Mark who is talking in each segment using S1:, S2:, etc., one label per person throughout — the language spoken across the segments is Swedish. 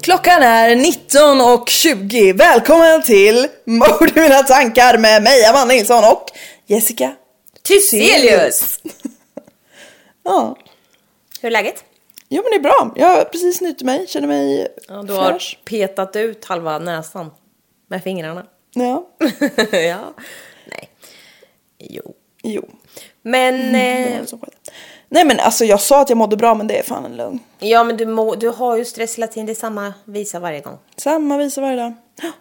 S1: Klockan är 19 och 20. Välkommen till Mord i mina tankar med mig Amanda Nilsson och Jessica
S2: Thyselius!
S1: Ja,
S2: Hur är läget?
S1: jo men det är bra. Jag har precis snytt mig, känner mig
S2: Ja, du har
S1: fräsch.
S2: petat ut halva näsan med fingrarna.
S1: Ja,
S2: ja. Nej. Jo.
S1: jo.
S2: Men,
S1: det var
S2: eh,
S1: så skönt. Nej men alltså jag sa att jag mådde bra men det är fan en lögn.
S2: ja men du, må, du har ju stresselatin, det är samma visa varje gång.
S1: Samma visa varje dag.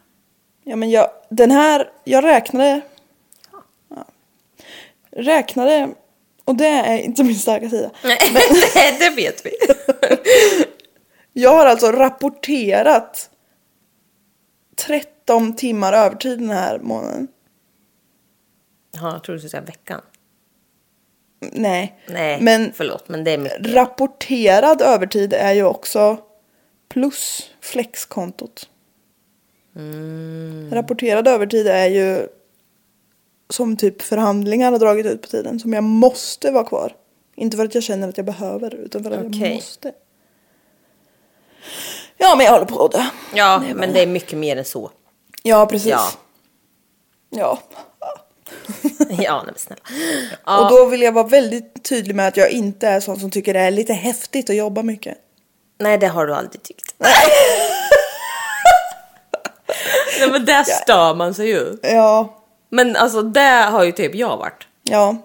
S1: Ja men jag, den här, jag räknade. Ja. Räknade, och det är inte min starka sida.
S2: Nej, det vet vi.
S1: Jag har alltså rapporterat 13 timmar övertid den här månaden.
S2: Ja, jag trodde du skulle säga veckan.
S1: Nej.
S2: Nej,
S1: Men
S2: förlåt, men det är mycket.
S1: rapporterad övertid är ju också plus flexkontot. Rapporterad övertid är ju som typ förhandlingar har dragit ut på tiden som jag måste vara kvar. Inte för att jag känner att jag behöver utan för att jag
S2: Okej.
S1: måste. Ja men jag håller på att dö.
S2: Ja, men det är mycket mer än så.
S1: Ja precis.
S2: Ja.
S1: ja.
S2: Ja, nej men snälla.
S1: Och då vill jag vara väldigt tydlig med att jag inte är sån som tycker det är lite häftigt att jobba mycket.
S2: Nej, det har du aldrig tyckt. nej, men där stör man sig ju.
S1: Ja,
S2: Men alltså, det har ju typ jag varit.
S1: ja.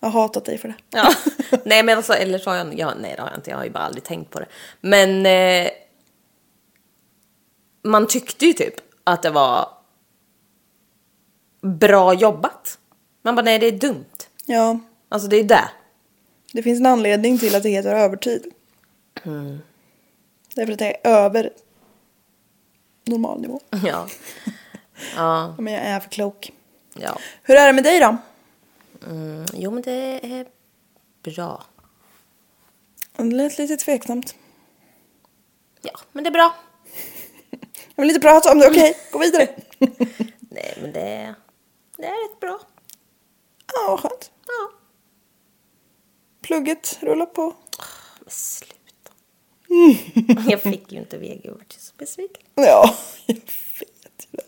S1: Jag har hatat dig för det.
S2: Ja. nej men alltså, eller så har jag, ja, nej det har jag inte, jag har ju bara aldrig tänkt på det. Men eh, man tyckte ju typ att det var bra jobbat. Man bara nej det är dumt.
S1: Ja,
S2: Alltså det är det.
S1: det finns en anledning till att det heter övertid.
S2: Mm.
S1: Därför att det är över normal nivå.
S2: Ja. ja,
S1: Men jag är för klok.
S2: ja. Mm,
S1: Hur är det med dig då?
S2: Jo men det är bra.
S1: Det lät lite tveksamt.
S2: Ja men det är bra.
S1: Jag vill inte prata om det, okej? Gå vidare.
S2: Nej men det, det är rätt bra.
S1: Ja, vad skönt.
S2: Ja.
S1: Plugget rullar på.
S2: Men sluta. Jag fick ju inte VG och vart ju så besviken.
S1: Ja, jag vet ju det.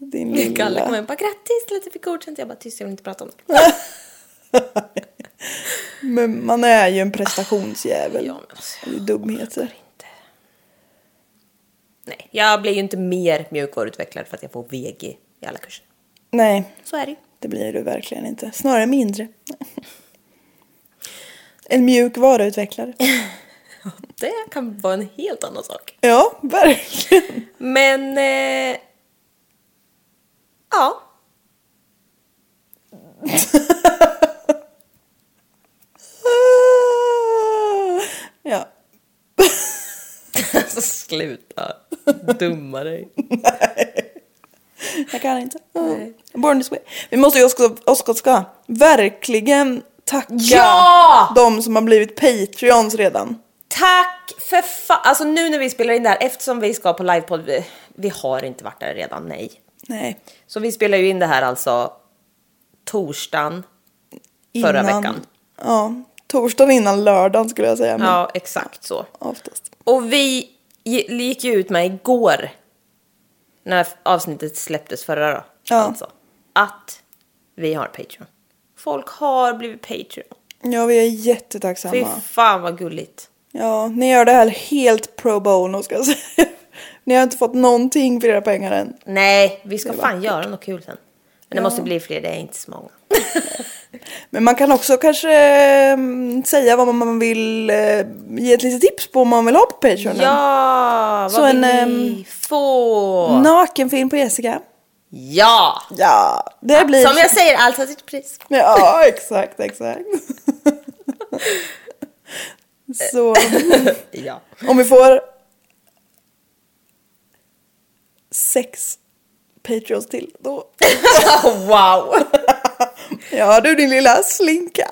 S1: Din lilla...
S2: Kalle kom hem och bara grattis till att du fick godkänt. Jag bara tyst jag vill inte prata om det.
S1: Men man är ju en prestationsjävel.
S2: Ja, men alltså,
S1: Det är dumheter.
S2: inte. Nej, jag blir ju inte mer mjukvaruutvecklare för att jag får VG i alla kurser.
S1: Nej,
S2: Så är det ju.
S1: det blir du verkligen inte. Snarare mindre. En mjuk varuutvecklare.
S2: Det kan vara en helt annan sak.
S1: Ja, verkligen.
S2: Men... Eh, ja.
S1: Ah! Ja,
S2: Alltså sluta dumma dig.
S1: Jag kan inte. Mm. Born this way. Vi måste ju också, också ska verkligen tacka
S2: Ja!
S1: de som har blivit Patreons redan.
S2: Tack för fan! Alltså nu när vi spelar in det här, eftersom vi ska på livepodd, vi, vi har inte varit där redan, nej.
S1: Nej.
S2: Så vi spelar ju in det här alltså torsdagen förra
S1: innan-
S2: veckan.
S1: Ja, torsdagen innan lördagen skulle jag säga. Men
S2: Ja, exakt så.
S1: Oftast.
S2: Och vi gi- gick ju ut med igår, när f- avsnittet släpptes förra då,
S1: Ja.
S2: alltså, att vi har Patreon. Folk har blivit Patreon.
S1: Ja, vi är jättetacksamma.
S2: Fy fan vad gulligt.
S1: Ja, ni gör det här helt pro bono ska jag säga. Ni har inte fått någonting för era pengar än.
S2: Nej, vi ska
S1: Det är
S2: fan
S1: vackert.
S2: göra något kul sen. Men det måste bli fler, det är inte så många.
S1: Men man kan också kanske eh, säga vad man vill, eh, ge ett litet tips på om man vill ha på Patreon.
S2: Ja, vad
S1: Så
S2: vill
S1: en, ehm, Mm.
S2: vi få?
S1: Nakenfilm på Jessica.
S2: Ja!
S1: Ja, det blir...
S2: Som jag säger, allt har sitt pris.
S1: Ja, exakt, exakt. Så
S2: Ja.
S1: om vi får sex Patreons till då.
S2: wow!
S1: Ja du din lilla slinka.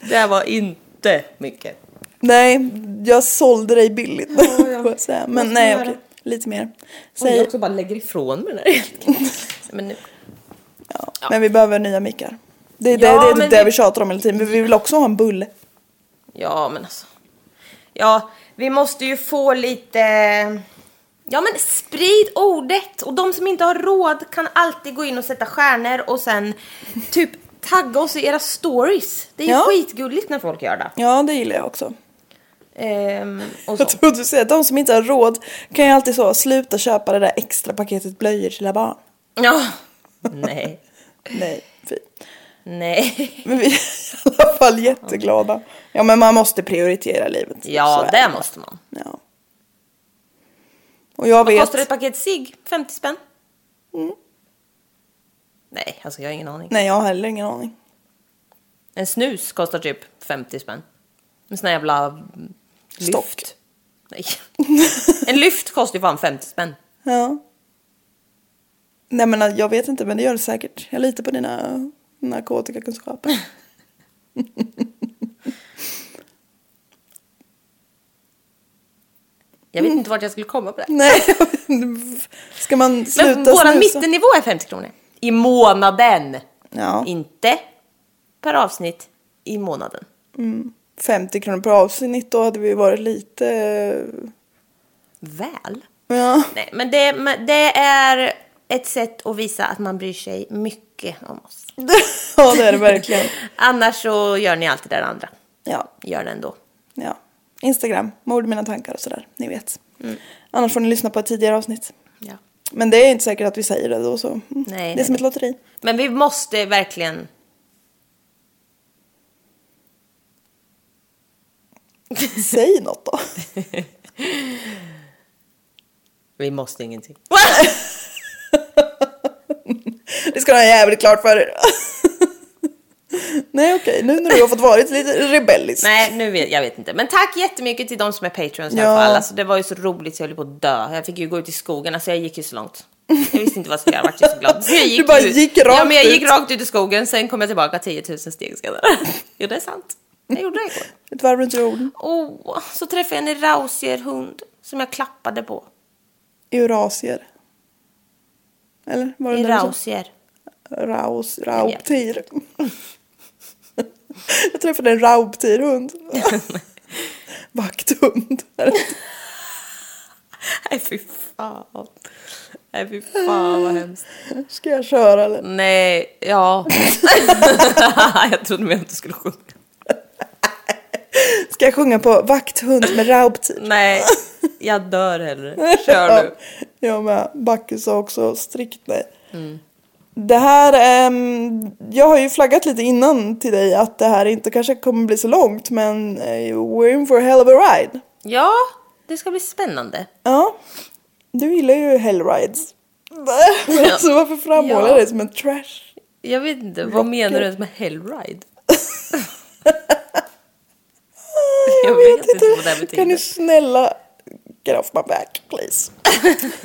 S2: det var inte mycket.
S1: Nej, jag sålde dig billigt.
S2: ja.
S1: får jag säga. Men
S2: Måste
S1: nej,
S2: göra.
S1: okej. Lite mer.
S2: Oj, jag
S1: Säg,
S2: också bara lägger ifrån mig den här Men nu.
S1: ja. Men vi behöver nya mickar. Det är, det,
S2: Ja,
S1: det, är
S2: men
S1: det
S2: vi-
S1: vi tjatar om hela tiden. Men vi vill också ha en bulle.
S2: Ja, men alltså. Ja, vi måste ju få lite... Ja, men sprid ordet! Och de som inte har råd kan alltid gå in och sätta stjärnor och sen typ tagga oss i era stories. Det är ju
S1: Ja.
S2: skitgulligt när folk gör det.
S1: Ja, det gillar jag också.
S2: Ehm, och så.
S1: Jag trodde du säga att de som inte har råd kan ju alltid så sluta köpa det där extra paketet blöjor till era barn.
S2: Ja. Nej.
S1: Nej, fy.
S2: Nej.
S1: Men vi är i alla fall jätteglada. Ja, men man måste prioritera livet. Så
S2: Ja,
S1: är
S2: det måste man.
S1: Ja. Och jag
S2: Vad
S1: vet... Mm.
S2: kostar ett paket cigg? 50 spänn? Nej, alltså jag har ingen aning.
S1: Nej, jag har heller ingen aning.
S2: En snus kostar typ 50 spänn. En sån här jävla mm, lyft.
S1: Stock.
S2: Nej. En lyft kostar ju fan 50 spänn.
S1: Ja. Nej men jag vet inte men det gör det säkert. Jag litar på dina narkotikakunskaper.
S2: Jag vet inte vart jag skulle komma på det.
S1: Nej, ska man sluta
S2: Men våran
S1: snusa?
S2: mittennivå är 50 kronor. I månaden!
S1: Ja,
S2: Inte per avsnitt, i månaden.
S1: 50 kronor per avsnitt då hade vi varit lite...
S2: Väl?
S1: Ja.
S2: Nej, men det, men det är ett sätt att visa att man bryr sig mycket om oss.
S1: ja, det är det verkligen.
S2: Annars så gör ni alltid det där andra.
S1: Ja,
S2: Gör det ändå.
S1: ja. Instagram, mord mina tankar och sådär, ni vet.
S2: Mm.
S1: Annars får ni lyssna på ett tidigare avsnitt.
S2: Ja.
S1: Men det är inte säkert att vi säger det då så. mm.
S2: nej,
S1: det är som
S2: nej.
S1: ett lotteri.
S2: Men vi måste verkligen...
S1: Säg något då.
S2: Vi måste ingenting.
S1: Det ska ni ha jävligt klart för er. Nej okej, nu när du har fått varit lite rebellisk.
S2: Nej, nu vet jag vet inte. Men tack jättemycket till de som är patrons i
S1: Ja.
S2: alla fall. Alltså, det var ju så roligt så jag höll på att dö. Jag fick ju gå ut i skogen, alltså jag gick ju så långt. Jag visste inte vad jag skulle göra, jag vart ju så glad. Så jag
S1: Du bara
S2: ut.
S1: gick rakt
S2: Ja, men jag gick
S1: ut.
S2: rakt ut i skogen, sen kom jag tillbaka 10 000 steg senare. Jo, det är sant. Jag gjorde det igår.
S1: Ett varv runt jorden.
S2: Åh, så träffade jag en rausierhund som jag klappade på.
S1: Eurasier. Eller var det
S2: En
S1: där du sa?
S2: rausier.
S1: Raus, raubtir. Jag träffade en raubtirhund. Vakthund.
S2: Nej, fy fan. Nej, fy fan vad hemskt.
S1: Ska jag köra eller?
S2: Nej, ja. jag trodde mer att du skulle sjunga.
S1: Ska jag sjunga på vakthund med typ? raubtir?
S2: Nej, jag dör hellre. Kör du.
S1: Jag med. Backe sa också strikt nej.
S2: Mm.
S1: Det här, ehm, jag har ju flaggat lite innan till dig att det här inte kanske kommer bli så långt men eh, we're in for a hell of a ride.
S2: Ja, det ska bli spännande.
S1: Ja, du gillar ju hellrides. alltså varför framhåller
S2: Ja.
S1: jag det som en trash?
S2: Jag vet inte, vad
S1: Rocker.
S2: menar du ens med hellride?
S1: Jag,
S2: Jag vet inte vad det här
S1: Kan
S2: betyder.
S1: du snälla get off my back please?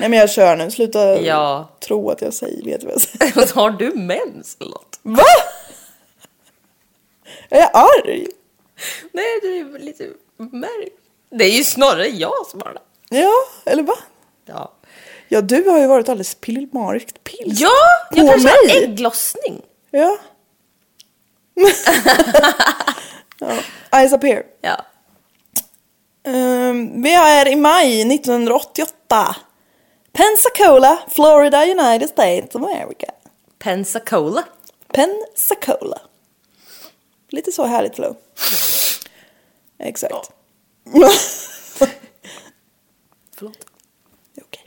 S1: Nej men jag kör nu, sluta
S2: Ja.
S1: tro att jag säger, vet vad jag säger.
S2: Har du mens eller något?
S1: Va? Är jag arg?
S2: Nej, du är väl lite märk. Det är ju snarare jag som har det.
S1: Ja, eller va?
S2: Ja,
S1: Ja, du har ju varit alldeles pillmariskt pill.
S2: ja jag
S1: På
S2: kanske har
S1: mig?
S2: ägglossning.
S1: Ja. ja. Eyes up here.
S2: Ja.
S1: Ehm, vi är i maj 1988. Pensacola, Florida, United States of America.
S2: Pensacola.
S1: Pensacola. Lite så härligt flow. Exakt.
S2: Förlåt.
S1: Det är okej.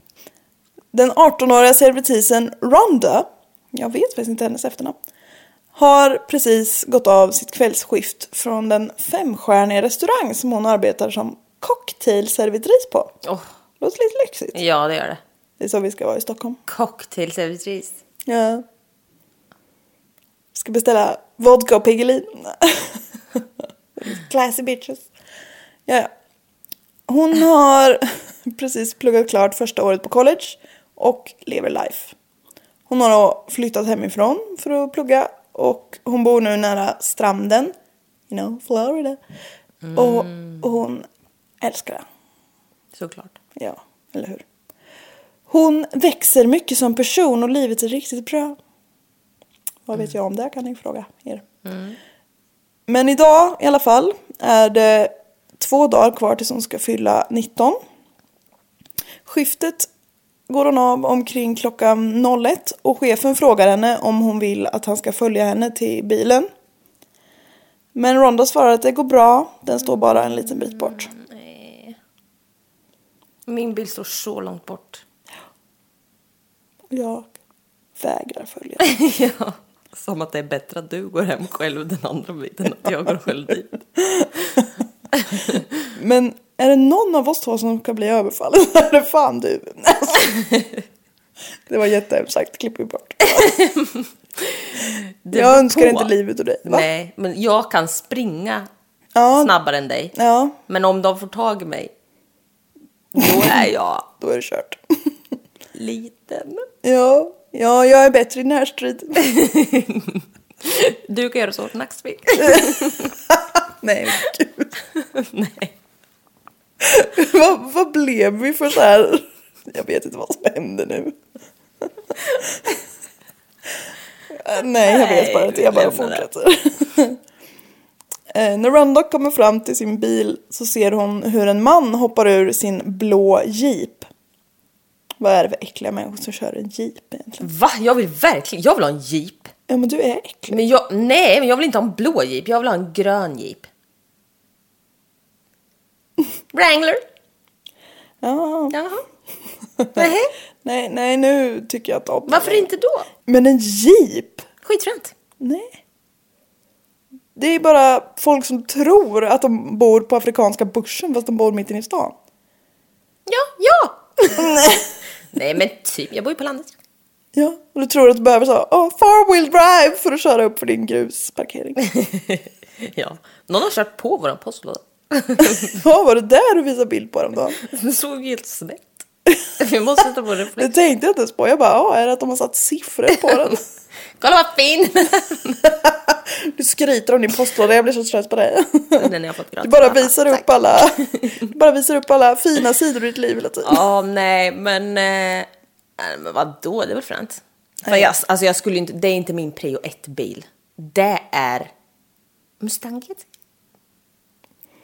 S1: Den 18-åriga servitrisen Rhonda, jag vet faktiskt inte hennes efternamn, har precis gått av sitt kvällsskift från den femstjärniga restaurang som hon arbetar som cocktailservitris på.
S2: Åh.
S1: Låter lite lyxigt.
S2: Ja, det gör det.
S1: Det är så vi ska vara i Stockholm.
S2: Cocktailservitris.
S1: Ja. Ska beställa vodka och Piggelin. Classy bitches. Ja, ja. Hon har precis pluggat klart första året på college och lever life. Hon har då flyttat hemifrån för att plugga och hon bor nu nära stranden, you know, Florida. Och hon älskar det.
S2: Såklart.
S1: Ja, eller hur? Hon växer mycket som person och livet är riktigt bra. Vad vet jag om det kan ni fråga er. Men idag i alla fall är det två dagar kvar tills hon ska fylla 19. Skiftet går hon av omkring klockan 01 och chefen frågar henne om hon vill att han ska följa henne till bilen. Men Ronda svarar att det går bra, den står bara en liten bit bort.
S2: Min bil står så långt bort.
S1: Jag vägrar följa.
S2: ja. Som att det är bättre att du går hem själv den andra biten att jag går själv dit.
S1: Men är det någon av oss två som ska bli överfallen är det fan du. Alltså. Det var jättehemskt sagt, klipp vi bort.
S2: Det
S1: jag
S2: beror
S1: önskar
S2: på.
S1: inte livet och dig. Va?
S2: Nej, men jag kan springa
S1: Ja.
S2: snabbare än dig.
S1: Ja,
S2: Men om de får tag i mig, då är jag
S1: då är det kört.
S2: liten.
S1: Ja, ja jag är bättre i närstrid.
S2: Du kan göra så åt Nacksvik.
S1: Nej, gud.
S2: Nej.
S1: Vad, vad blev vi för så här? Jag vet inte vad som händer nu. Nej, jag vet bara
S2: Nej,
S1: inte.
S2: vi
S1: Jag bara
S2: lämnar det.
S1: fortsätter. Eh, När Rhonda kommer fram till sin bil så ser hon hur en man hoppar ur sin blå jeep. Vad är det för äckliga människor som kör en jeep egentligen?
S2: Va? Jag vill verkligen, jag vill ha en jeep.
S1: Ja men du är äcklig.
S2: Men jag, nej, men jag vill inte ha en blå jeep, jag vill ha en grön jeep. Wrangler.
S1: Ja.
S2: Jaha. Nähä.
S1: Nej, nej nu tycker jag inte om det
S2: Varför
S1: längre.
S2: inte då?
S1: Men en jeep?
S2: Skitfränt.
S1: Nej. Det är bara folk som tror att de bor på afrikanska börsen fast de bor mitt inne i stan.
S2: Ja, ja. nej, men typ, jag bor ju på landet.
S1: Ja, och du tror att du behöver så oh, four wheel drive för att köra upp för din grusparkering.
S2: Ja, någon har kört på våran postlåda.
S1: Ja, var det där du visade bild på häromdagen?
S2: Den såg ju helt snett. Vi måste sätta på
S1: Det
S2: reflekt.
S1: tänkte jag inte ens på. Jag bara, ja, är det att de har satt siffror på den?
S2: Kolla vad fin den är.
S1: Du skryter om din postlåda, jag blir så trött på dig.
S2: Den har jag fått
S1: Du
S2: gratis.
S1: bara visar upp alla, du bara visar upp alla fina sidor i ditt liv hela tiden.
S2: Ja, nej, men... Eh, nej, men vadå, det är väl fränt? För jag, alltså jag skulle ju inte, det är inte min prio ett bil. Det är Mustang GT.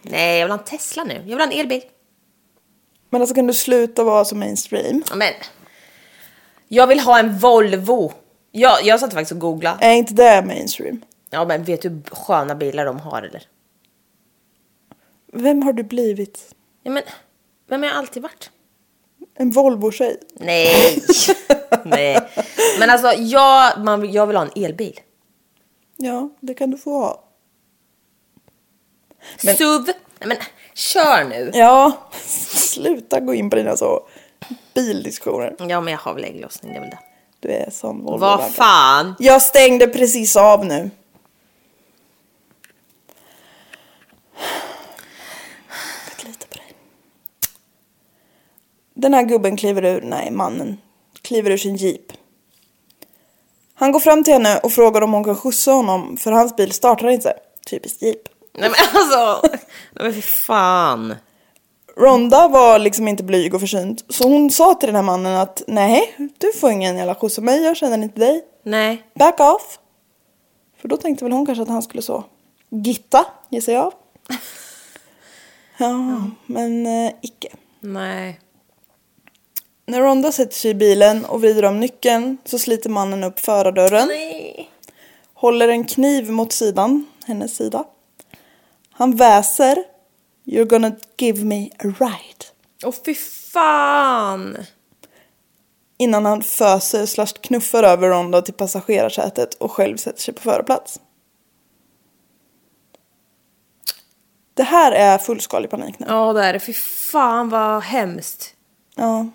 S2: Nej, jag vill ha en Tesla nu. Jag vill ha en elbil.
S1: Men alltså kan du sluta vara så mainstream?
S2: Ja, Men, jag vill ha en Volvo. Jag, jag satt faktiskt och googlade.
S1: Är inte det mainstream?
S2: Ja, men vet du hur sköna bilar de har eller?
S1: Vem har du blivit?
S2: Ja, men vem har jag alltid varit?
S1: En Volvo-tjej.
S2: Nej, nej. Men alltså, jag, man, jag vill ha en elbil.
S1: Ja, det kan du få ha.
S2: Men... SUV. Nej, men kör nu.
S1: Ja, sluta gå in på dina så bildiskussioner.
S2: Ja, men jag har väl ägglossning, det är väl det.
S1: Du är sån volvo
S2: Vad fan?
S1: Jag stängde precis av nu. Jag litar på dig. Den här gubben kliver ur, nej mannen, kliver ur sin jeep. Han går fram till henne och frågar om hon kan skjutsa honom för hans bil startar inte. Typiskt jeep.
S2: Nej men alltså, nej men fy fan.
S1: Ronda var liksom inte blyg och försynt så hon sa till den här mannen att nej, du får ingen jävla skjuts av mig, jag känner inte dig.
S2: Nej.
S1: Back off! För då tänkte väl hon kanske att han skulle så gitta, gissar jag. Ja, men eh, icke.
S2: Nej.
S1: När Ronda sätter sig i bilen och vrider om nyckeln så sliter mannen upp förardörren.
S2: Nej.
S1: Håller en kniv mot sidan, hennes sida. Han väser. You're gonna give me a ride.
S2: Åh fy fan.
S1: Innan han föser slash knuffar över Ronda till passagerarsätet och själv sätter sig på förarplats. Det här är fullskalig panik nu.
S2: Ja det är det, fy fan vad hemskt.
S1: Ja.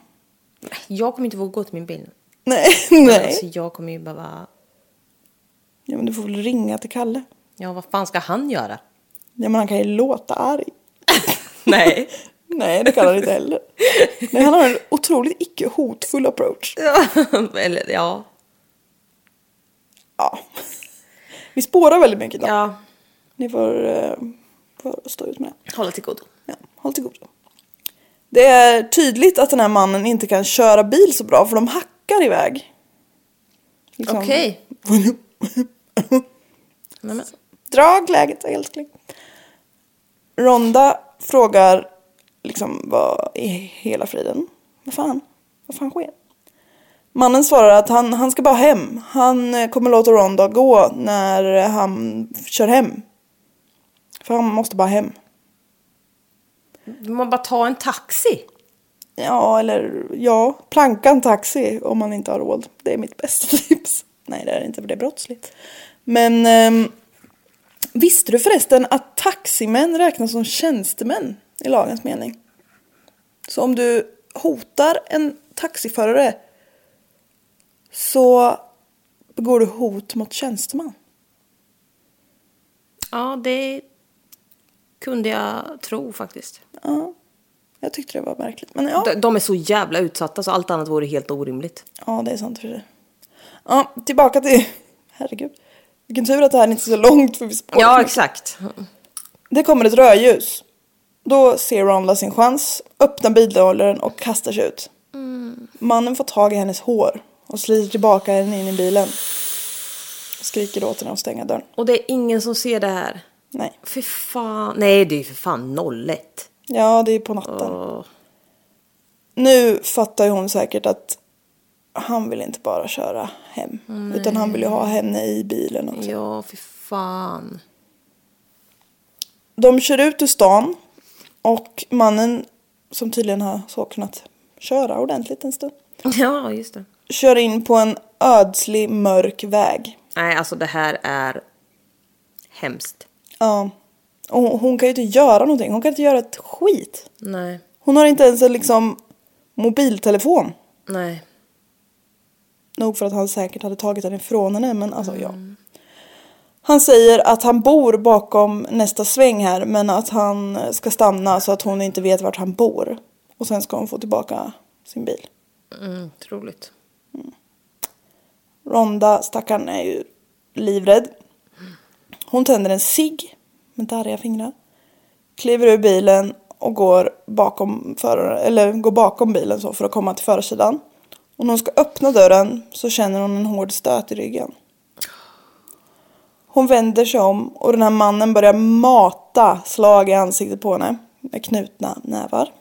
S2: Jag kommer inte våga gå till min bil.
S1: Nej, nej.
S2: Alltså, jag kommer ju bara,
S1: Ja, men du får väl ringa till Kalle.
S2: ja vad fan ska han göra?
S1: Ja, men han kan ju låta arg.
S2: Nej.
S1: Nej, det kan han inte heller. Nej, han har en otroligt icke-hotfull approach.
S2: Ja, Eller ja.
S1: Ja. Vi spårar väldigt mycket idag.
S2: Ja.
S1: Ni får, eh, får stå ut med det.
S2: Hålla till godo.
S1: Ja, håll till godo. Det är tydligt att den här mannen inte kan köra bil så bra för de hackar iväg. Liksom,
S2: Okej. Nej, men-
S1: Drag läget älskling. Ronda frågar liksom vad i hela friden? Vad fan? Vad fan sker? Mannen svarar att han, han ska bara hem. Han eh, kommer låta Ronda gå när eh, han kör hem. För han måste bara hem.
S2: Man bara ta en taxi.
S1: Ja, eller ja, planka en taxi om man inte har råd. Det är mitt bästa tips. Nej, det är det inte för det är brottsligt. Men ehm, visste du förresten att taximän räknas som tjänstemän i lagens mening? Så om du hotar en taxiförare så begår du hot mot tjänsteman.
S2: Ja, det kunde jag tro faktiskt.
S1: Ja, jag tyckte det var märkligt. Men ja.
S2: De, de är så jävla utsatta så allt annat vore helt orimligt.
S1: Ja, det är sant för sig. Ja, tillbaka till... Herregud. Vilken tur att det här inte är så långt för vi spårar.
S2: Ja, exakt.
S1: Det kommer ett rödljus. Då ser Ronda sin chans, öppnar bildörren och kastar sig ut.
S2: Mm.
S1: Mannen får tag i hennes hår och sliter tillbaka henne in i bilen. Skriker åt henne att stänga dörren.
S2: Och det är ingen som ser det här.
S1: Nej.
S2: Fy fan. Nej, det är ju för fan 01.
S1: Ja, det är på natten. Nu fattar ju hon säkert att han vill inte bara köra hem. Utan han vill ju ha henne i bilen också.
S2: Ja, fy fan.
S1: De kör ut ur stan och mannen som tydligen har så kunnat köra ordentligt en stund
S2: Ja, just det.
S1: kör in på en ödslig mörk väg.
S2: Nej, alltså det här är hemskt.
S1: Ja. Och hon- hon kan ju inte göra någonting. Hon kan inte göra ett skit.
S2: Nej,
S1: Hon har inte ens en liksom mobiltelefon.
S2: nej.
S1: Nog för att han säkert hade tagit den ifrån henne men alltså ja. Han säger att han bor bakom nästa sväng här men att han ska stanna så att hon inte vet vart han bor. Och sen ska hon få tillbaka sin bil.
S2: Mm, otroligt.
S1: Ronda, stackaren, är ju livrädd. Hon tänder en cigg med darriga fingrar. Kliver ur bilen och går bakom, förare, eller går bakom bilen så för att komma till förarsidan. Och när hon ska öppna dörren så känner hon en hård stöt i ryggen. Hon vänder sig om och den här mannen börjar mata slag i ansiktet på henne med knutna nävar.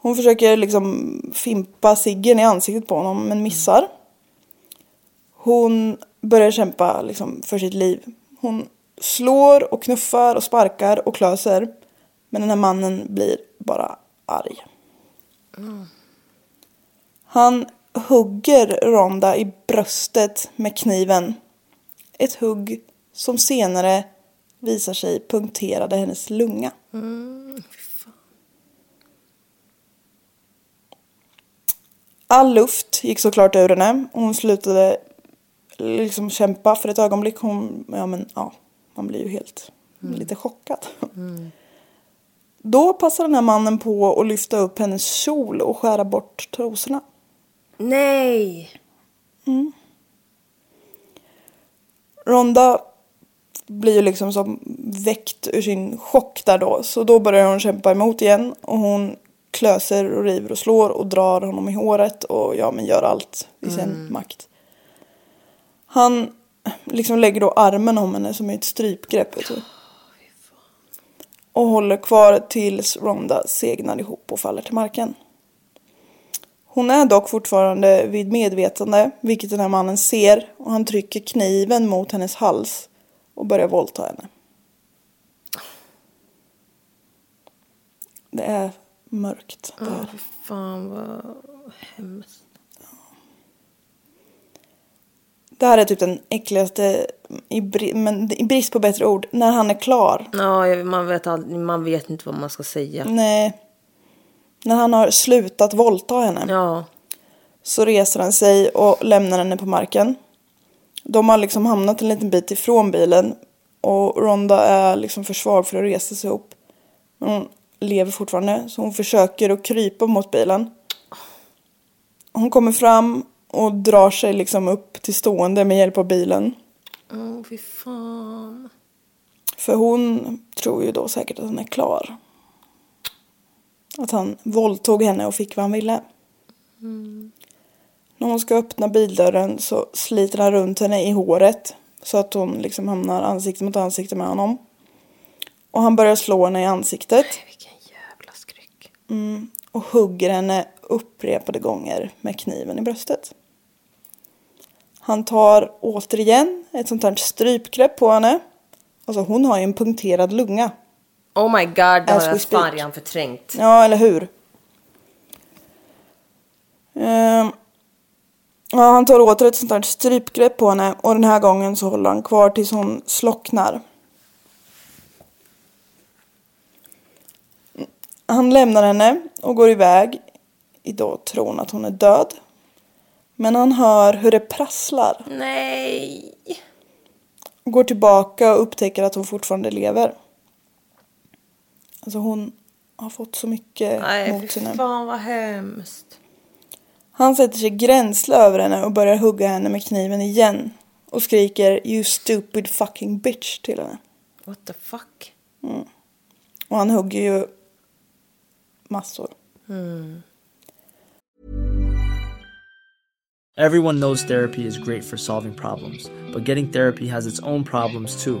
S1: Hon försöker liksom fimpa ciggen i ansiktet på honom men missar. Hon börjar kämpa liksom för sitt liv. Hon slår och knuffar och sparkar och klöser. Men den här mannen blir bara arg. Han hugger Ronda i bröstet med kniven. Ett hugg som senare visar sig punkterade hennes lunga. All luft gick såklart ur henne och hon slutade liksom kämpa för ett ögonblick. Hon, ja men ja, man blir ju helt lite chockad. Då passar den här mannen på att lyfta upp hennes kjol och skära bort trosorna.
S2: Nej!
S1: Ronda blir ju liksom som väckt ur sin chock där då. Så då börjar hon kämpa emot igen och hon klöser och river och slår och drar honom i håret och ja men gör allt i sin makt. Han liksom lägger då armen om henne som i ett strypgrepp vet du. Och håller kvar tills Ronda segnar ihop och faller till marken. Hon är dock fortfarande vid medvetande, vilket den här mannen ser och han trycker kniven mot hennes hals och börjar våldta henne. Det är mörkt. Det här.
S2: Fy fan vad hemskt.
S1: det här är typ den äckligaste, i, bri- men, i brist på bättre ord, när han är klar.
S2: Ja, jag- man vet, aldrig, man vet inte vad man ska säga.
S1: Nej. När han har slutat våldta henne.
S2: Ja.
S1: Så reser han sig och lämnar henne på marken. De har liksom hamnat en liten bit ifrån bilen och Ronda är liksom för svag för att resa sig upp. Men hon lever fortfarande så hon försöker att krypa mot bilen. Hon kommer fram och drar sig liksom upp till stående med hjälp av bilen.
S2: Åh, Mm, fy fan.
S1: För hon tror ju då säkert att han är klar. Att han våldtog henne och fick vad han ville.
S2: Mm.
S1: När hon ska öppna bildörren så sliter han runt henne i håret. Så att hon liksom hamnar ansikte mot ansikte med honom. Och han börjar slå henne i ansiktet. Mm.
S2: Vilken jävla skräck.
S1: Och hugger henne upprepade gånger med kniven i bröstet. Han tar återigen ett sånt här strypgrepp på henne. Alltså hon har ju en punkterad lunga.
S2: Oh my god, det har
S1: As we
S2: jag fan
S1: speak.
S2: redan förträngt.
S1: Ja, eller hur? Ehm, ja, han tar åter ett sånt här strypgrepp på henne och den här gången så håller han kvar tills hon slocknar. Han lämnar henne och går iväg i då tron att hon är död. Men han hör hur det prasslar
S2: Nej.
S1: och går tillbaka och upptäcker att hon fortfarande lever. Alltså hon har fått så mycket
S2: Nej,
S1: mot
S2: fy
S1: sina...
S2: fan vad hemskt.
S1: Han sätter sig gränsle över henne och börjar hugga henne med kniven igen. Och skriker “You stupid fucking bitch” till henne.
S2: What the fuck?
S1: Och han hugger ju massor.
S3: Everyone knows therapy is great for solving problems, but getting therapy has its own problems too,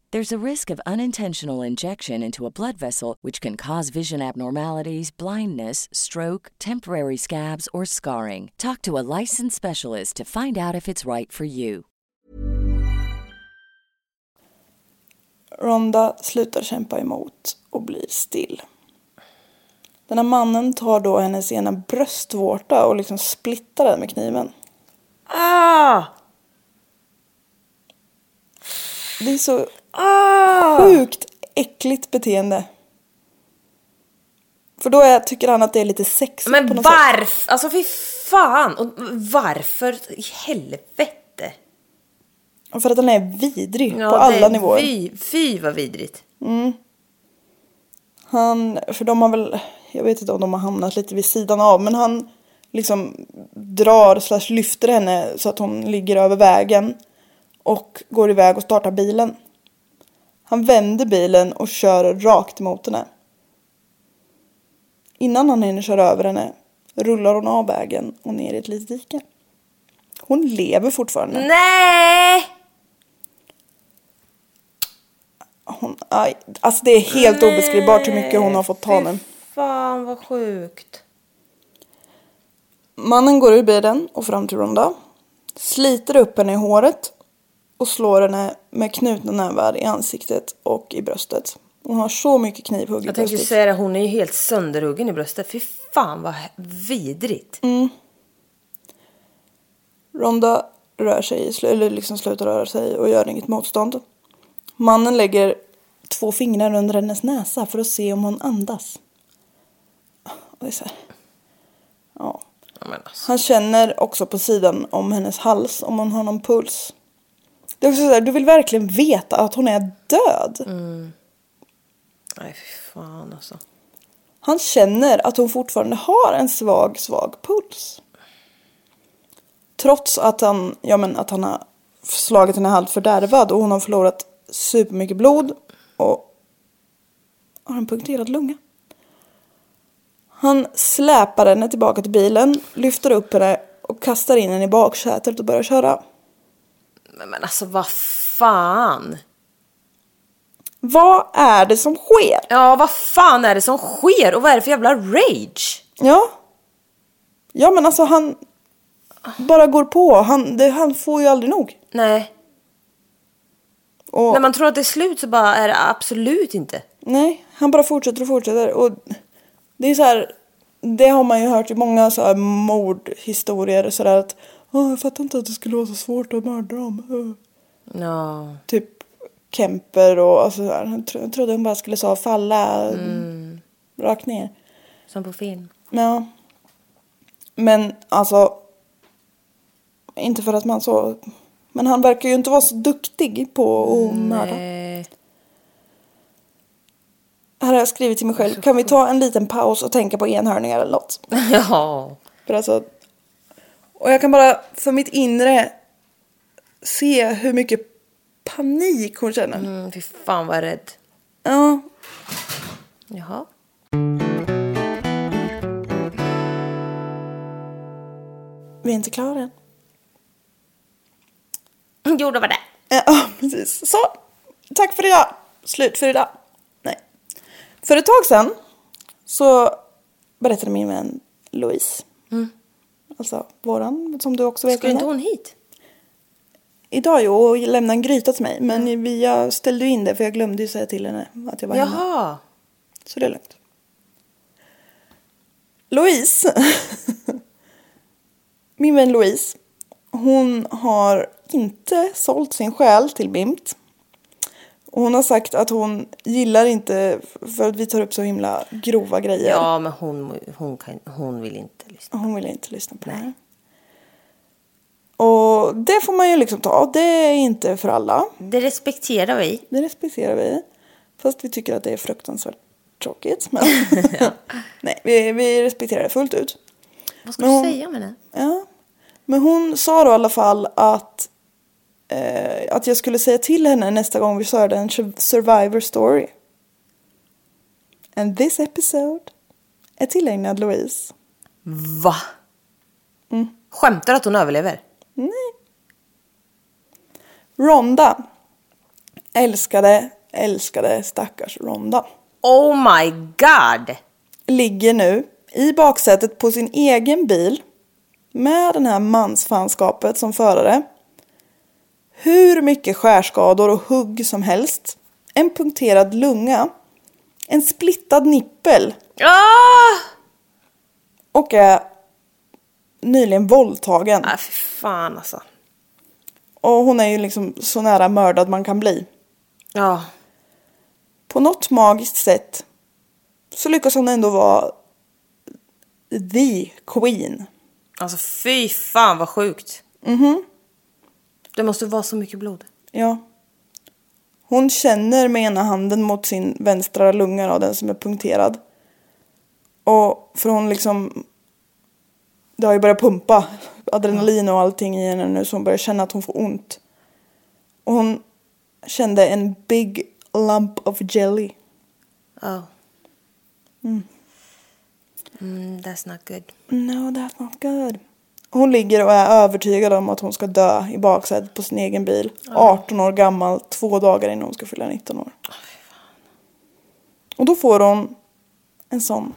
S4: There's a risk of unintentional injection into a blood vessel, which can cause vision abnormalities, blindness, stroke, temporary scabs, or scarring. Talk to a licensed specialist to find out if it's right for you.
S1: Ronda slutar kämpa emot och blir still. Den här mannen tar då hennes ena bröstvårta och liksom splittar den med kniven.
S2: Ah!
S1: Det är så
S2: Ah!
S1: sjukt äckligt beteende. För då är, tycker han att det är lite sexigt på
S2: Men
S1: något sätt.
S2: varför? Alltså fy fan! Och varför i helvete?
S1: Och För att den är vidrig
S2: Ja,
S1: på alla
S2: det-
S1: nivåer.
S2: Fy, fy vad vidrigt.
S1: Han, för de har väl jag vet inte om de har hamnat lite vid sidan av, men han liksom drar slash lyfter henne så att hon ligger över vägen och går iväg och startar bilen. Han vänder bilen och kör rakt emot henne. Innan han hinner köra över henne rullar hon av vägen och ner i ett litet dike. Hon lever fortfarande.
S2: Nej!
S1: Hon, aj, alltså det är helt obeskrivbart hur mycket hon har fått ta nu.
S2: Fan vad sjukt.
S1: Mannen går ur bilen och fram till Ronda, sliter upp henne i håret och slår henne med knutna nävar i ansiktet och i bröstet. Hon har så mycket knivhugg i
S2: Jag tänkte
S1: bröstet.
S2: ju säga det, hon är ju helt sönderhuggen i bröstet. Fy fan vad he- vidrigt.
S1: Mm. Ronda rör sig, i slu- eller liksom slutar röra sig och gör inget motstånd. Mannen lägger två fingrar under hennes näsa för att se om hon andas. Och det är så här. Ja.
S2: Ja, men alltså.
S1: Han känner också på sidan om hennes hals om hon har någon puls. Det är också så här, du vill verkligen veta att hon är död.
S2: Nej fy fan alltså.
S1: Han känner att hon fortfarande har en svag, svag puls. Trots att han, ja men att han har slagit henne halvt fördärvad och hon har förlorat supermycket blod och har en punkterad lunga. Han släpar henne tillbaka till bilen, lyfter upp henne och kastar in henne i baksätet och börjar köra.
S2: Men, men alltså vad fan.
S1: Vad är det som sker?
S2: Ja vad fan är det som sker och vad är det för jävla rage?
S1: Ja. Ja men alltså han bara går på. Han, det, han får ju aldrig nog.
S2: Nej.
S1: Och,
S2: När man tror att det är slut så bara är det absolut inte.
S1: Nej, han bara fortsätter och fortsätter. Och det är så här, det har man ju hört i många så här mordhistorier. Så där att, "Åh, jag fattar inte att det skulle vara så svårt att mörda dem. Åh."
S2: Ja.
S1: Typ Kemper och alltså, så här. Han tro- han trodde hon bara skulle så falla rakt ner.
S2: Som på film.
S1: Ja. Men alltså. Inte för att man så. Men han verkar ju inte vara så duktig på att mörda.
S2: Nej.
S1: Här har jag skrivit till mig själv. Kan vi ta en liten paus och tänka på enhörningar eller något?
S2: ja.
S1: För alltså. Och jag kan bara för mitt inre. Se hur mycket panik hon känner.
S2: Mm, fy fan vad rädd.
S1: Ja.
S2: Jaha.
S1: Vi är inte klara än.
S2: Jo det var det.
S1: Eh, Ja, precis. Så, tack för idag. Slut för idag. Nej. För ett tag sedan så berättade min vän Louise. Alltså våran, som du också vet.
S2: Mm. Skulle inte
S1: Linda.
S2: hon hit?
S1: Idag jo, och lämnade en gryta till mig. Men vi, jag ställde ju in det för jag glömde ju säga till henne att jag var hemma.
S2: Jaha.
S1: Så det är lugnt. Louise. Min vän Louise. Hon har inte sålt sin själ till Bimt. Och hon har sagt att hon gillar inte för att vi tar upp så himla grova grejer.
S2: Ja men hon, hon, kan, hon vill inte lyssna.
S1: Hon vill inte lyssna på det här. Och det får man ju liksom ta. Det är inte för alla.
S2: Det respekterar vi.
S1: Det respekterar vi. Fast vi tycker att det är fruktansvärt tråkigt. Men Nej, vi, vi respekterar det fullt ut.
S2: Vad ska
S1: Men
S2: du
S1: hon-
S2: säga med det?
S1: Ja. Men hon sa då i alla fall att, eh, att jag skulle säga till henne nästa gång vi körde en sur- survivor story. And this episode är tillägnad Louise.
S2: Va? Mm. Skämtar du att hon överlever?
S1: Ronda. Älskade, älskade stackars Ronda.
S2: Oh my god!
S1: ligger nu i baksätet på sin egen bil med den här mansfanskapet som förare. Hur mycket skärskador och hugg som helst. En punkterad lunga. En splittad nippel.
S2: Ah!
S1: Och är nyligen våldtagen.
S2: Nej, Ah, fy fan alltså.
S1: Och hon är ju liksom så nära mördad man kan bli.
S2: Ja.
S1: På något magiskt sätt så lyckas hon ändå vara the queen.
S2: Alltså fy fan vad sjukt.
S1: Mhm.
S2: Det måste vara så mycket blod.
S1: Ja. Hon känner med ena handen mot sin vänstra lunga då, den som är punkterad. Och för hon liksom... Det har ju börjat pumpa adrenalin och allting i henne nu så hon börjar känna att hon får ont. Och hon kände en big lump of jelly.
S2: Oh. Mm, that's not good.
S1: No, that's not good. Hon ligger och är övertygad om att hon ska dö i baksätet på sin egen bil. 18 år gammal, två dagar innan hon ska fylla 19 år. Och då får hon en sån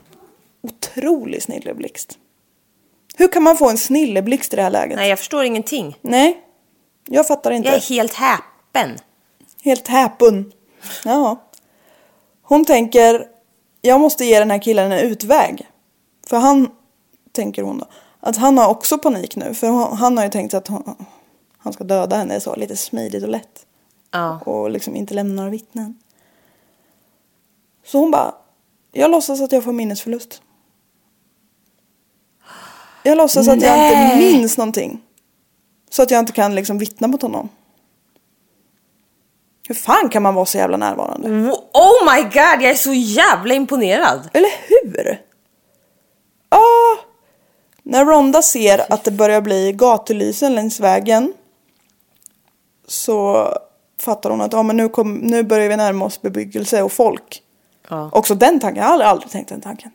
S1: otrolig snilleblixt. Hur kan man få en snilleblixt i det här läget?
S2: Nej, jag förstår ingenting.
S1: Nej, jag fattar inte.
S2: Jag är helt häpen.
S1: Helt häpen. Ja. Hon tänker, jag måste ge den här killen en utväg. För han, tänker hon då, att han har också panik nu. För hon- han har ju tänkt att hon, han ska döda henne så, lite smidigt och lätt.
S2: Ja.
S1: Och liksom inte lämna några vittnen. Så hon bara, jag låtsas att jag får minnesförlust. Jag låtsas att jag inte
S2: Nej.
S1: minns någonting. Så att jag inte kan liksom vittna mot honom. Hur fan kan man vara så jävla närvarande?
S2: Wo- Oh my god, jag är så jävla imponerad.
S1: Eller hur? Ah! När Ronda ser att det börjar bli gatulysen längs vägen så fattar hon att ah, men nu, kom, nu börjar vi närma oss bebyggelse och folk.
S2: Ja.
S1: Också den tanken, jag har aldrig, aldrig tänkt den tanken.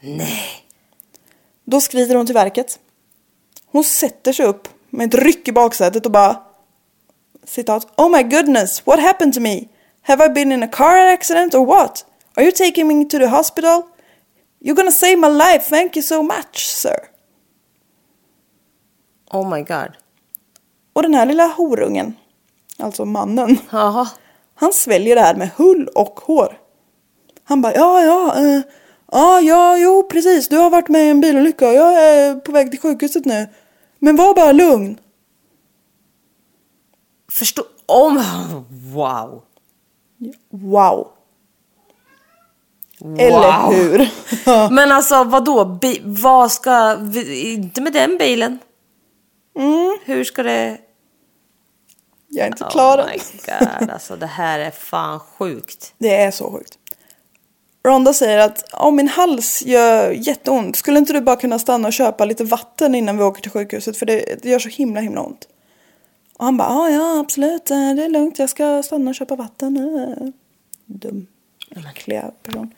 S2: Nej.
S1: Då skrider hon till verket. Hon sätter sig upp med ett ryck i baksätet och bara citat Oh my goodness, what happened to me? Have I been in a car accident or what? Are you taking me to the hospital? You're gonna save my life, thank you so much sir.
S2: Oh my god.
S1: Och den här lilla horungen, alltså mannen,
S2: Jaha.
S1: han sväljer det här med hull och hår. Han bara ja, ja, eh, ja, ja, jo precis, du har varit med i en bilolycka och jag är på väg till sjukhuset nu. Men var bara lugn.
S2: Förstå... Oh my... Wow.
S1: Wow. Eller hur?
S2: Men alltså vadå? Bi- vad ska... Vi... Inte med den bilen.
S1: Mm,
S2: Hur ska det...
S1: jag är inte klar
S2: Oh
S1: än.
S2: my god, alltså det här är fan sjukt.
S1: Det är så sjukt. Ronda säger att oh, min hals gör jätteont. Skulle inte du bara kunna stanna och köpa lite vatten innan vi åker till sjukhuset? För det, det gör så himla himla ont. Och han bara ja, ja absolut. eh, Det är lugnt. Jag ska stanna och köpa vatten. Eh, Dum. Äckliga person.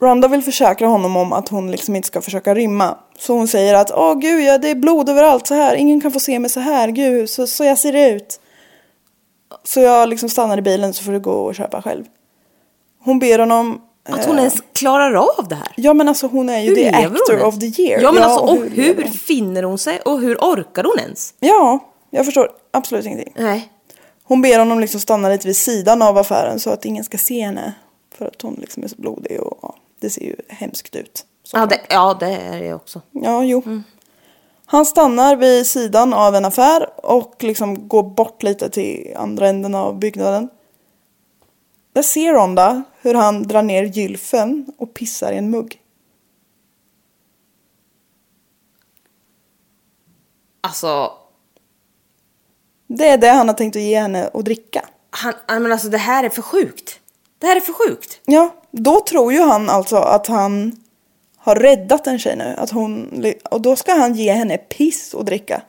S1: Ronda vill försäkra honom om att hon liksom inte ska försöka rymma. Så hon säger att åh gud, ja, det är blod överallt så här. Ingen kan få se mig så här. Gud, så, så jag ser ut. Så jag liksom stannar i bilen så får du gå och köpa själv. Hon ber honom...
S2: Att hon
S1: eh,
S2: ens klarar av det här.
S1: Ja men alltså hon är ju the
S2: lever
S1: actor
S2: ens?
S1: of the year.
S2: Ja men alltså och
S1: hur lever
S2: hur
S1: hon?
S2: finner hon sig och hur orkar hon ens?
S1: Ja, jag förstår absolut ingenting.
S2: Nej.
S1: Hon ber honom liksom stanna lite vid sidan av affären så att ingen ska se henne. För att hon liksom är så blodig och ja, det ser ju hemskt ut.
S2: Ja det, ja det är det också.
S1: Ja, jo. Han stannar vid sidan av en affär och liksom går bort lite till andra änden av byggnaden. Där ser Ronda hur han drar ner gylfen och pissar i en mugg.
S2: Alltså,
S1: Det är det han har tänkt att ge henne att dricka.
S2: han, han, men alltså det här är för sjukt. Det här är för sjukt.
S1: Ja, då tror ju han alltså att han har räddat en tjej nu. Att hon, och då ska han ge henne piss att dricka.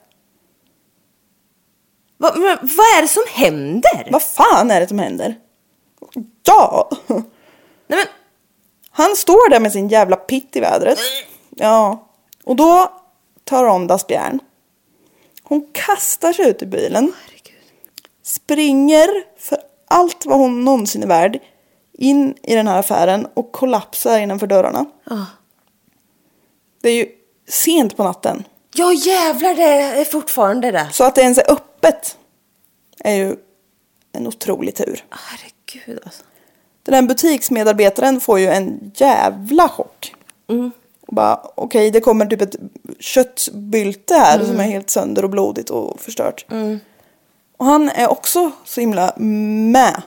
S2: Va, men, vad är det som händer?
S1: Vad fan är det som händer? Ja!
S2: Nej men,
S1: Han står där med sin jävla pitt i vädret. Ja. Och då tar Rondas bjärn. Hon kastar sig ut i bilen. Springer för allt vad hon någonsin är värd in i den här affären och kollapsar innanför dörrarna. Det är ju sent på natten.
S2: ja jävlar det är fortfarande det.
S1: Så att det ens är öppet är ju en otrolig tur.
S2: Herregud alltså.
S1: Den här butiksmedarbetaren får ju en jävla chock. Och bara, okej det kommer typ ett köttbylte här som är helt sönder och blodigt och förstört. Och han är också så himla med,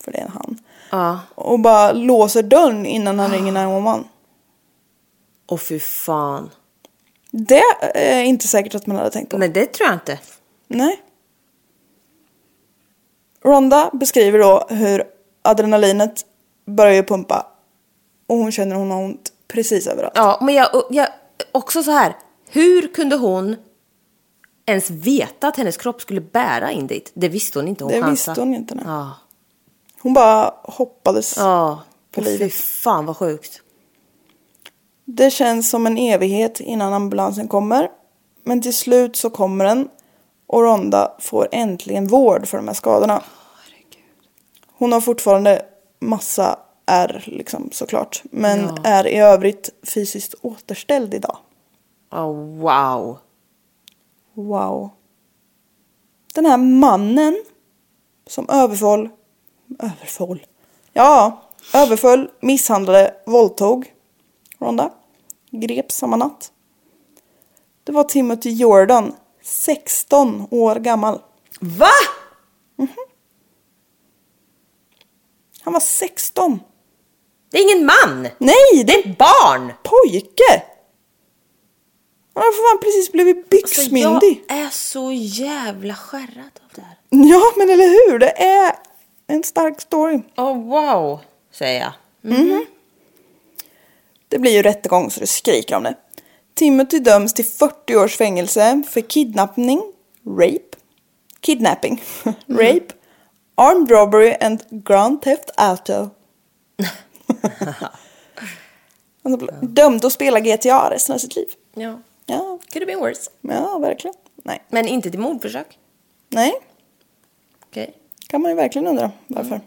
S1: för det är han.
S2: Ja.
S1: Och bara låser dörren innan han ringer 911.
S2: Åh fy fan.
S1: Det är inte säkert att man hade tänkt på.
S2: Men det tror jag inte.
S1: Nej. Ronda beskriver då hur adrenalinet börjar ju pumpa och hon känner hon har ont precis överallt.
S2: Ja, men jag, jag också så här. Hur kunde hon ens veta att hennes kropp skulle bära in dit? Det visste hon inte. Hon
S1: Det
S2: chansade.
S1: visste hon inte, nej.
S2: Ja.
S1: Hon bara hoppades.
S2: ja.
S1: På
S2: Åh, Fy
S1: livet.
S2: fan vad sjukt.
S1: Det känns som en evighet innan ambulansen kommer. Men till slut så kommer den och Ronda får äntligen vård för de här skadorna. Hon har fortfarande massa ärr liksom såklart. Men är i övrigt fysiskt återställd idag.
S2: Ja, wow.
S1: Wow. Den här mannen som överföll, överföll, ja, överföll, misshandlade, våldtog Ronda, greps samma natt. Det var Timothy Jordan, 16 år gammal. Mhm.
S2: Va?
S1: Han var 16!
S2: Det är ingen man.
S1: Nej, det
S2: Det
S1: är
S2: är ett barn.
S1: pojke! Han har för fan precis blivit byxmyndig.
S2: Alltså, jag är så jävla skärrad av det här.
S1: Ja, men eller hur? Det är en stark story.
S2: Oh, wow, säger jag.
S1: Det blir ju rättegång så det skriker om det. Timothy döms till 40 års fängelse för kidnappning, rape, kidnapping, rape, armed robbery and grand theft auto. Han är dömd att spela GTA resten av sitt liv.
S2: Ja.
S1: Ja,
S2: Could have been worse.
S1: ja verkligen. Nej.
S2: Men inte till mordförsök.
S1: Nej,
S2: Okej.
S1: kan man ju verkligen undra varför.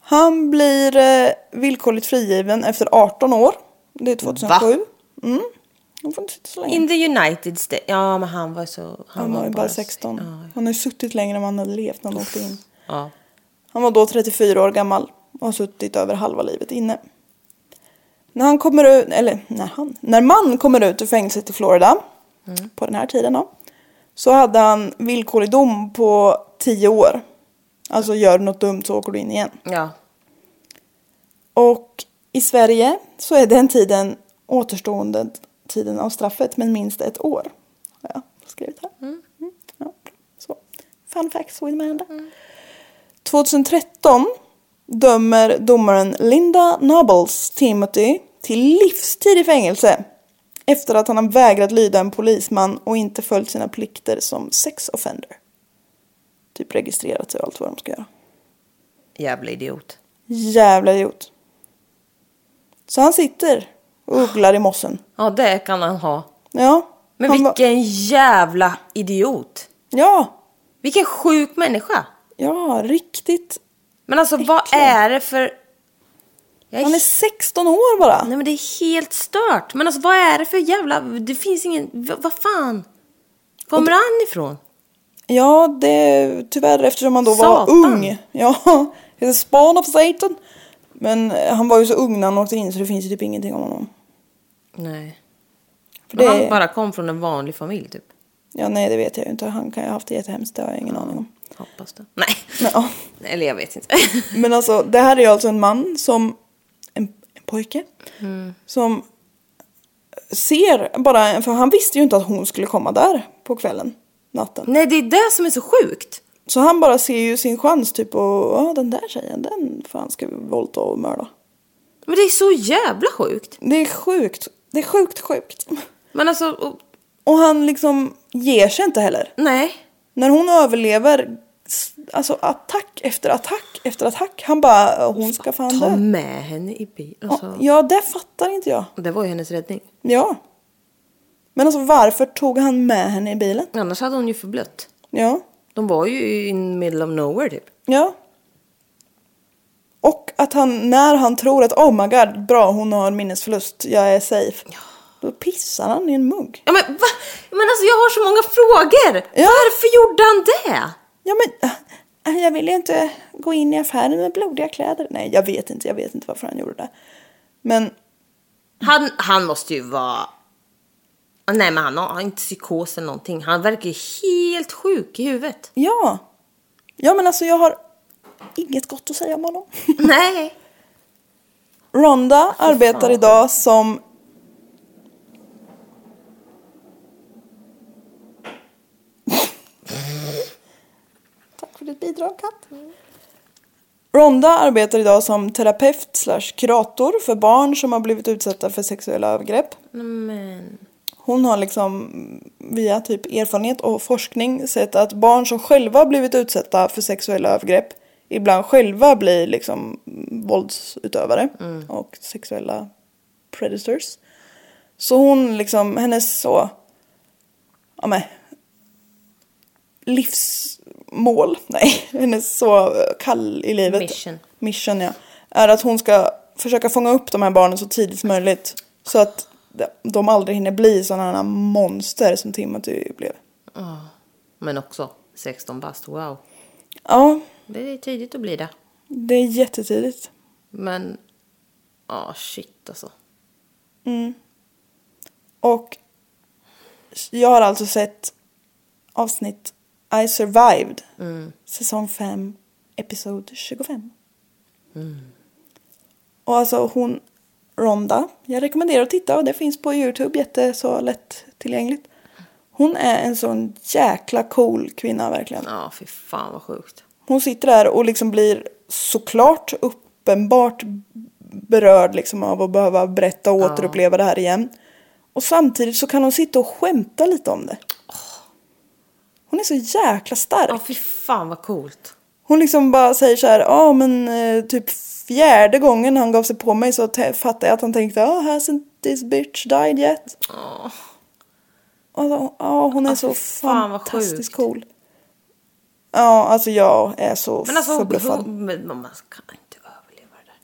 S1: Han blir eh, villkorligt frigiven efter 18 år. Det är 2007. Mm. Han får inte sitta så länge.
S2: In the United States. Ja, men han var så... Han,
S1: Han var ju bara 16.
S2: Ja.
S1: Han har ju suttit längre än han hade levt när han åkte in.
S2: ja.
S1: Han var då 34 år gammal och har suttit över halva livet inne. När han kommer ut, eller när han, när man kommer ut ur fängelset i Florida på den här tiden då. Så hade han villkorlig dom på 10 år. Alltså gör du något dumt så åker du in igen.
S2: ja.
S1: Och i Sverige så är den tiden återstående tiden av straffet men minst ett år. Har jag skrivit här. Mm, Ja. Så. Fun facts with Amanda. 2013 dömer domaren Linda Nobles Timothy till livstid i fängelse efter att han har vägrat lyda en polisman och inte följt sina plikter som sex offender. Typ registrerat sig och allt vad de ska göra.
S2: Jävla idiot.
S1: Jävla idiot. Så han sitter och ugglar i mossen.
S2: Ja, det kan han ha.
S1: Ja.
S2: Men
S1: han var-
S2: vilken jävla idiot.
S1: Ja.
S2: Vilken sjuk människa.
S1: Ja, riktigt.
S2: Men alltså, vad
S1: Äcklig.
S2: är det för... Jag
S1: Han är 16 år bara.
S2: Nej men det är helt stört. Men alltså vad är det för jävla... Det finns ingen... v- Vad fan? Kommer han ifrån?
S1: Ja, det tyvärr eftersom han då var
S2: Satan.
S1: ung. Ja, det är span of Satan. Men eh, han var ju så ung när han åkte in så det finns ju typ ingenting om honom.
S2: Nej.
S1: För det...
S2: Han bara kom från en vanlig familj typ.
S1: Ja, nej det vet jag ju inte. Han kan ju ha haft det jättehemskt, det har jag ingen aning om.
S2: Hoppas det. Nej.
S1: Men, ja.
S2: Eller jag vet inte.
S1: Men alltså, det här är ju alltså en man som... En, en pojke. Som ser bara... För han visste ju inte att hon skulle komma där på kvällen. Natten.
S2: Nej det är det som är så sjukt.
S1: Så han bara ser ju sin chans typ och... Ja, den där tjejen, den fan ska vi våldta och mörda.
S2: Men det är så jävla sjukt.
S1: Det är sjukt. Det är sjukt sjukt.
S2: Men alltså... Och,
S1: Och han liksom ger sig inte heller.
S2: nej.
S1: När hon överlever... s- Alltså attack efter attack efter attack. Han bara, hon ska fan
S2: Ta
S1: dö.
S2: med henne i bilen. Alltså.
S1: Ja, det fattar inte jag.
S2: Det var ju hennes räddning.
S1: Ja. Men alltså varför tog han med henne i bilen?
S2: Annars hade hon ju förblött.
S1: Ja.
S2: De var ju in middle of nowhere typ.
S1: Ja. Och att han, när han tror att oh my god, bra hon har minnesförlust, jag är safe. Då pissar han i en mugg.
S2: Ja, men va? Men alltså jag har så många frågor.
S1: Ja.
S2: Varför gjorde han det?
S1: Ja men, äh, jag vill ju inte gå in i affären med blodiga kläder. Nej, jag vet inte, jag vet inte varför han gjorde det. Men,
S2: Han, han måste ju vara... Ah, Nej men han har, han har inte psykos eller någonting. Han verkar ju helt sjuk i huvudet.
S1: ja. Ja men alltså jag har inget gott att säga om honom.
S2: Nej.
S1: Ronda arbetar idag som... Tack för ditt bidrag, katt. Ronda arbetar idag som terapeut slash kurator för barn som har blivit utsatta för sexuella övergrepp.
S2: Men...
S1: Hon har liksom via typ erfarenhet och forskning sett att barn som själva har blivit utsatta för sexuella övergrepp ibland själva blir liksom våldsutövare och sexuella predators. Så hon liksom, hennes så, ja men, livsmål, nej, hennes så kall i livet.
S2: Mission.
S1: Mission ja. Är att hon ska försöka fånga upp de här barnen så tidigt som möjligt. Så att de aldrig hinner bli sådana här monster som Timothy blev.
S2: Men också 16 bast, wow.
S1: Ja,
S2: Det är tidigt att bli det.
S1: det är jättetidigt.
S2: Men... Ja, shit alltså.
S1: Och jag har alltså sett avsnitt I survived. Säsong 5, episod 25. Och alltså hon, Ronda, jag rekommenderar att titta och det finns på Youtube jätte så lätt tillgängligt. Hon är en sån jäkla cool kvinna verkligen.
S2: Ja, fy fan vad sjukt.
S1: Hon sitter där och liksom blir såklart uppenbart berörd liksom av att behöva berätta och återuppleva det här igen. Och samtidigt så kan hon sitta och skämta lite om det. Hon är så jäkla stark.
S2: Ja, fy fan vad coolt.
S1: Hon liksom bara säger så här, ja men eh, typ fjärde gången han gav sig på mig så te- fattade jag att han tänkte, oh, hasn't this bitch died yet? Alltså, ja, hon är så
S2: Ah, fan, vad
S1: fantastiskt
S2: sjukt.
S1: cool. Ja, alltså jag är så
S2: Men alltså, hon,
S1: förbluffad.
S2: hon, men man kan inte överleva det där.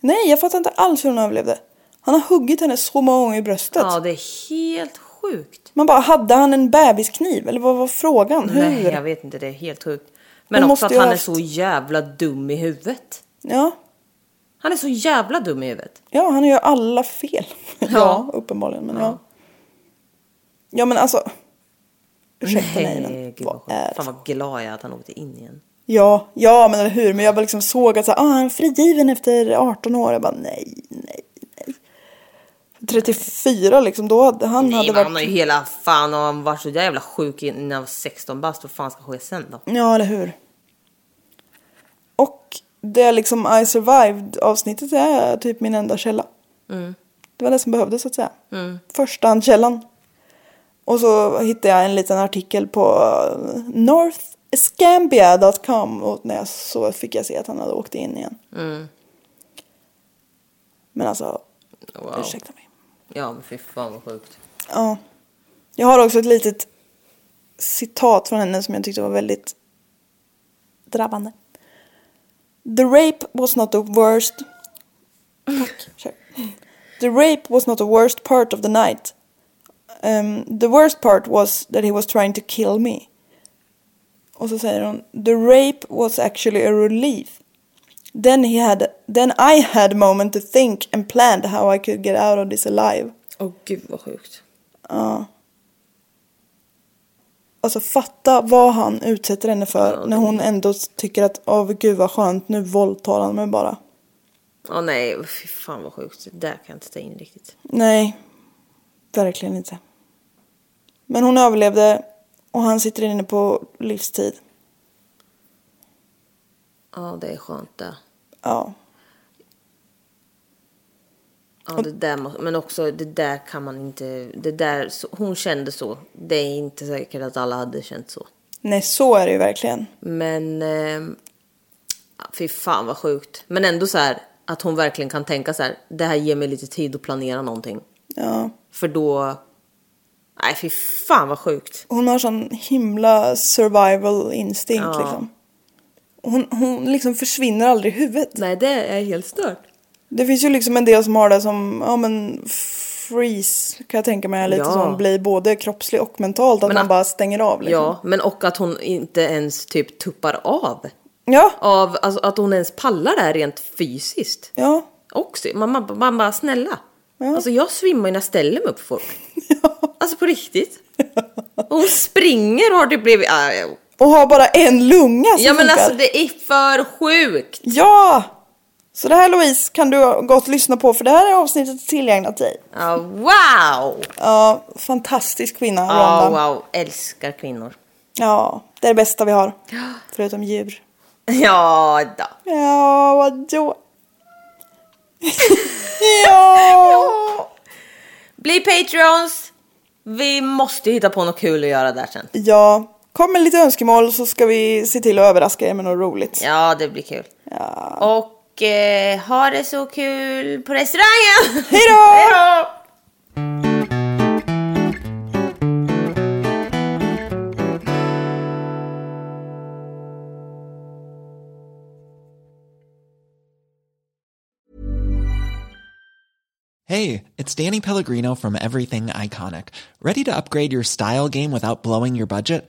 S1: Nej, jag fattar inte alls hur hon överlevde. Han har huggit henne så många gånger i bröstet.
S2: Ja, det är helt sjukt.
S1: Man bara, hade han en bebiskniv? Eller vad var frågan? Hur?
S2: Nej, jag vet inte. Det är helt sjukt. Men
S1: Hon
S2: också att
S1: måste ju
S2: han
S1: ha
S2: är
S1: haft-
S2: så jävla dum i huvudet.
S1: Ja,
S2: Han är så jävla dum i huvudet.
S1: ja, han gör alla fel. Ja, uppenbarligen. Men ja. ja. men alltså. Ursäkta mig, men
S2: gud,
S1: vad
S2: vad
S1: är
S2: sjukt. Fan vad glad jag är att han åkte in igen.
S1: Ja, ja, men eller hur? Men jag bara liksom såg att så, här, ah, han är frigiven efter 18 år. Jag bara, nej, nej, nej. 34 liksom, då hade han
S2: Nej,
S1: hade
S2: men han har
S1: varit...
S2: ju hela fan och han var så jävla sjuk innan han var 16 bast. Vad fan ska ske sen då?
S1: Ja, eller hur? Och det liksom I survived avsnittet är typ min enda källa. Det var det som behövdes så att säga. Mm. Förstahandskällan. Och så hittade jag en liten artikel på eh, northscambia.com och när jag så fick jag se att han hade åkt in igen. Men alltså,
S2: Wow.
S1: ursäkta mig.
S2: Ja, men fy fan vad sjukt.
S1: Ja. Jag har också ett litet citat från henne som jag tyckte var väldigt drabbande. The rape was not the worst... Tack, kör. The rape was not the worst part of the night. Um, the worst part was that he was trying to kill me. Och så säger hon The rape was actually a relief. Then he had... Then I had a moment to think and planned how I could get out of this alive.
S2: Åh oh, gud vad sjukt.
S1: Alltså fatta vad han utsätter henne för när hon ändå tycker att åh gud vad skönt nu våldtar han mig bara.
S2: Åh nej, fy fan vad sjukt. Det där kan jag inte ta in riktigt.
S1: Nej, verkligen inte. Men hon överlevde och han sitter inne på livstid.
S2: Ja, det är skönt det.
S1: Ja,
S2: Ja, det där, må- men också det där kan man inte... Det där, så- hon kände så. Det är inte säkert att alla hade känt så.
S1: nej så är det ju verkligen.
S2: Men... Eh, fy fan vad sjukt. Men ändå så här att hon verkligen kan tänka så här. Det här ger mig lite tid att planera någonting.
S1: Ja.
S2: För då... Nej fy fan vad sjukt.
S1: Hon har sån himla survival instinkt liksom. Hon, hon liksom försvinner aldrig i huvudet.
S2: Nej det är helt stört.
S1: Det finns ju liksom en del som har det som, ja men freeze kan jag tänka mig är lite
S2: Ja.
S1: som blir både kroppslig och mentalt att
S2: Men
S1: man
S2: att-
S1: bara stänger av liksom.
S2: Ja, men och att hon inte ens typ tuppar av.
S1: Ja.
S2: Av alltså, att hon ens pallar det här rent fysiskt.
S1: Ja.
S2: Också. Man, man, man bara snälla. Alltså jag svimmar ju när jag ställer mig upp för folk. Alltså på riktigt. Och hon springer har det blivit... Ah, ja.
S1: Och har bara en lunga som
S2: Ja men
S1: funkar.
S2: alltså det är för sjukt.
S1: Ja! Så det här Louise kan du gott lyssna på för det här är avsnittet tillägnat dig.
S2: Ah, wow!
S1: Ja, fantastisk kvinna
S2: Ah,
S1: Ronda.
S2: wow, älskar kvinnor.
S1: Ja, det är det bästa vi har. Förutom djur.
S2: Ja, då.
S1: Ja, vadå? ja.
S2: Bli Patreons. Vi måste hitta på något kul att göra där sen.
S1: ja, kom med lite önskemål så ska vi se till att överraska er med något roligt.
S2: Ja, det blir kul. Och eh, ha det så kul på restaurangen!
S1: Hej då!
S2: Hej då!
S5: Hey, it's Danny Pellegrino from Everything Iconic. Ready to upgrade your style game without blowing your budget?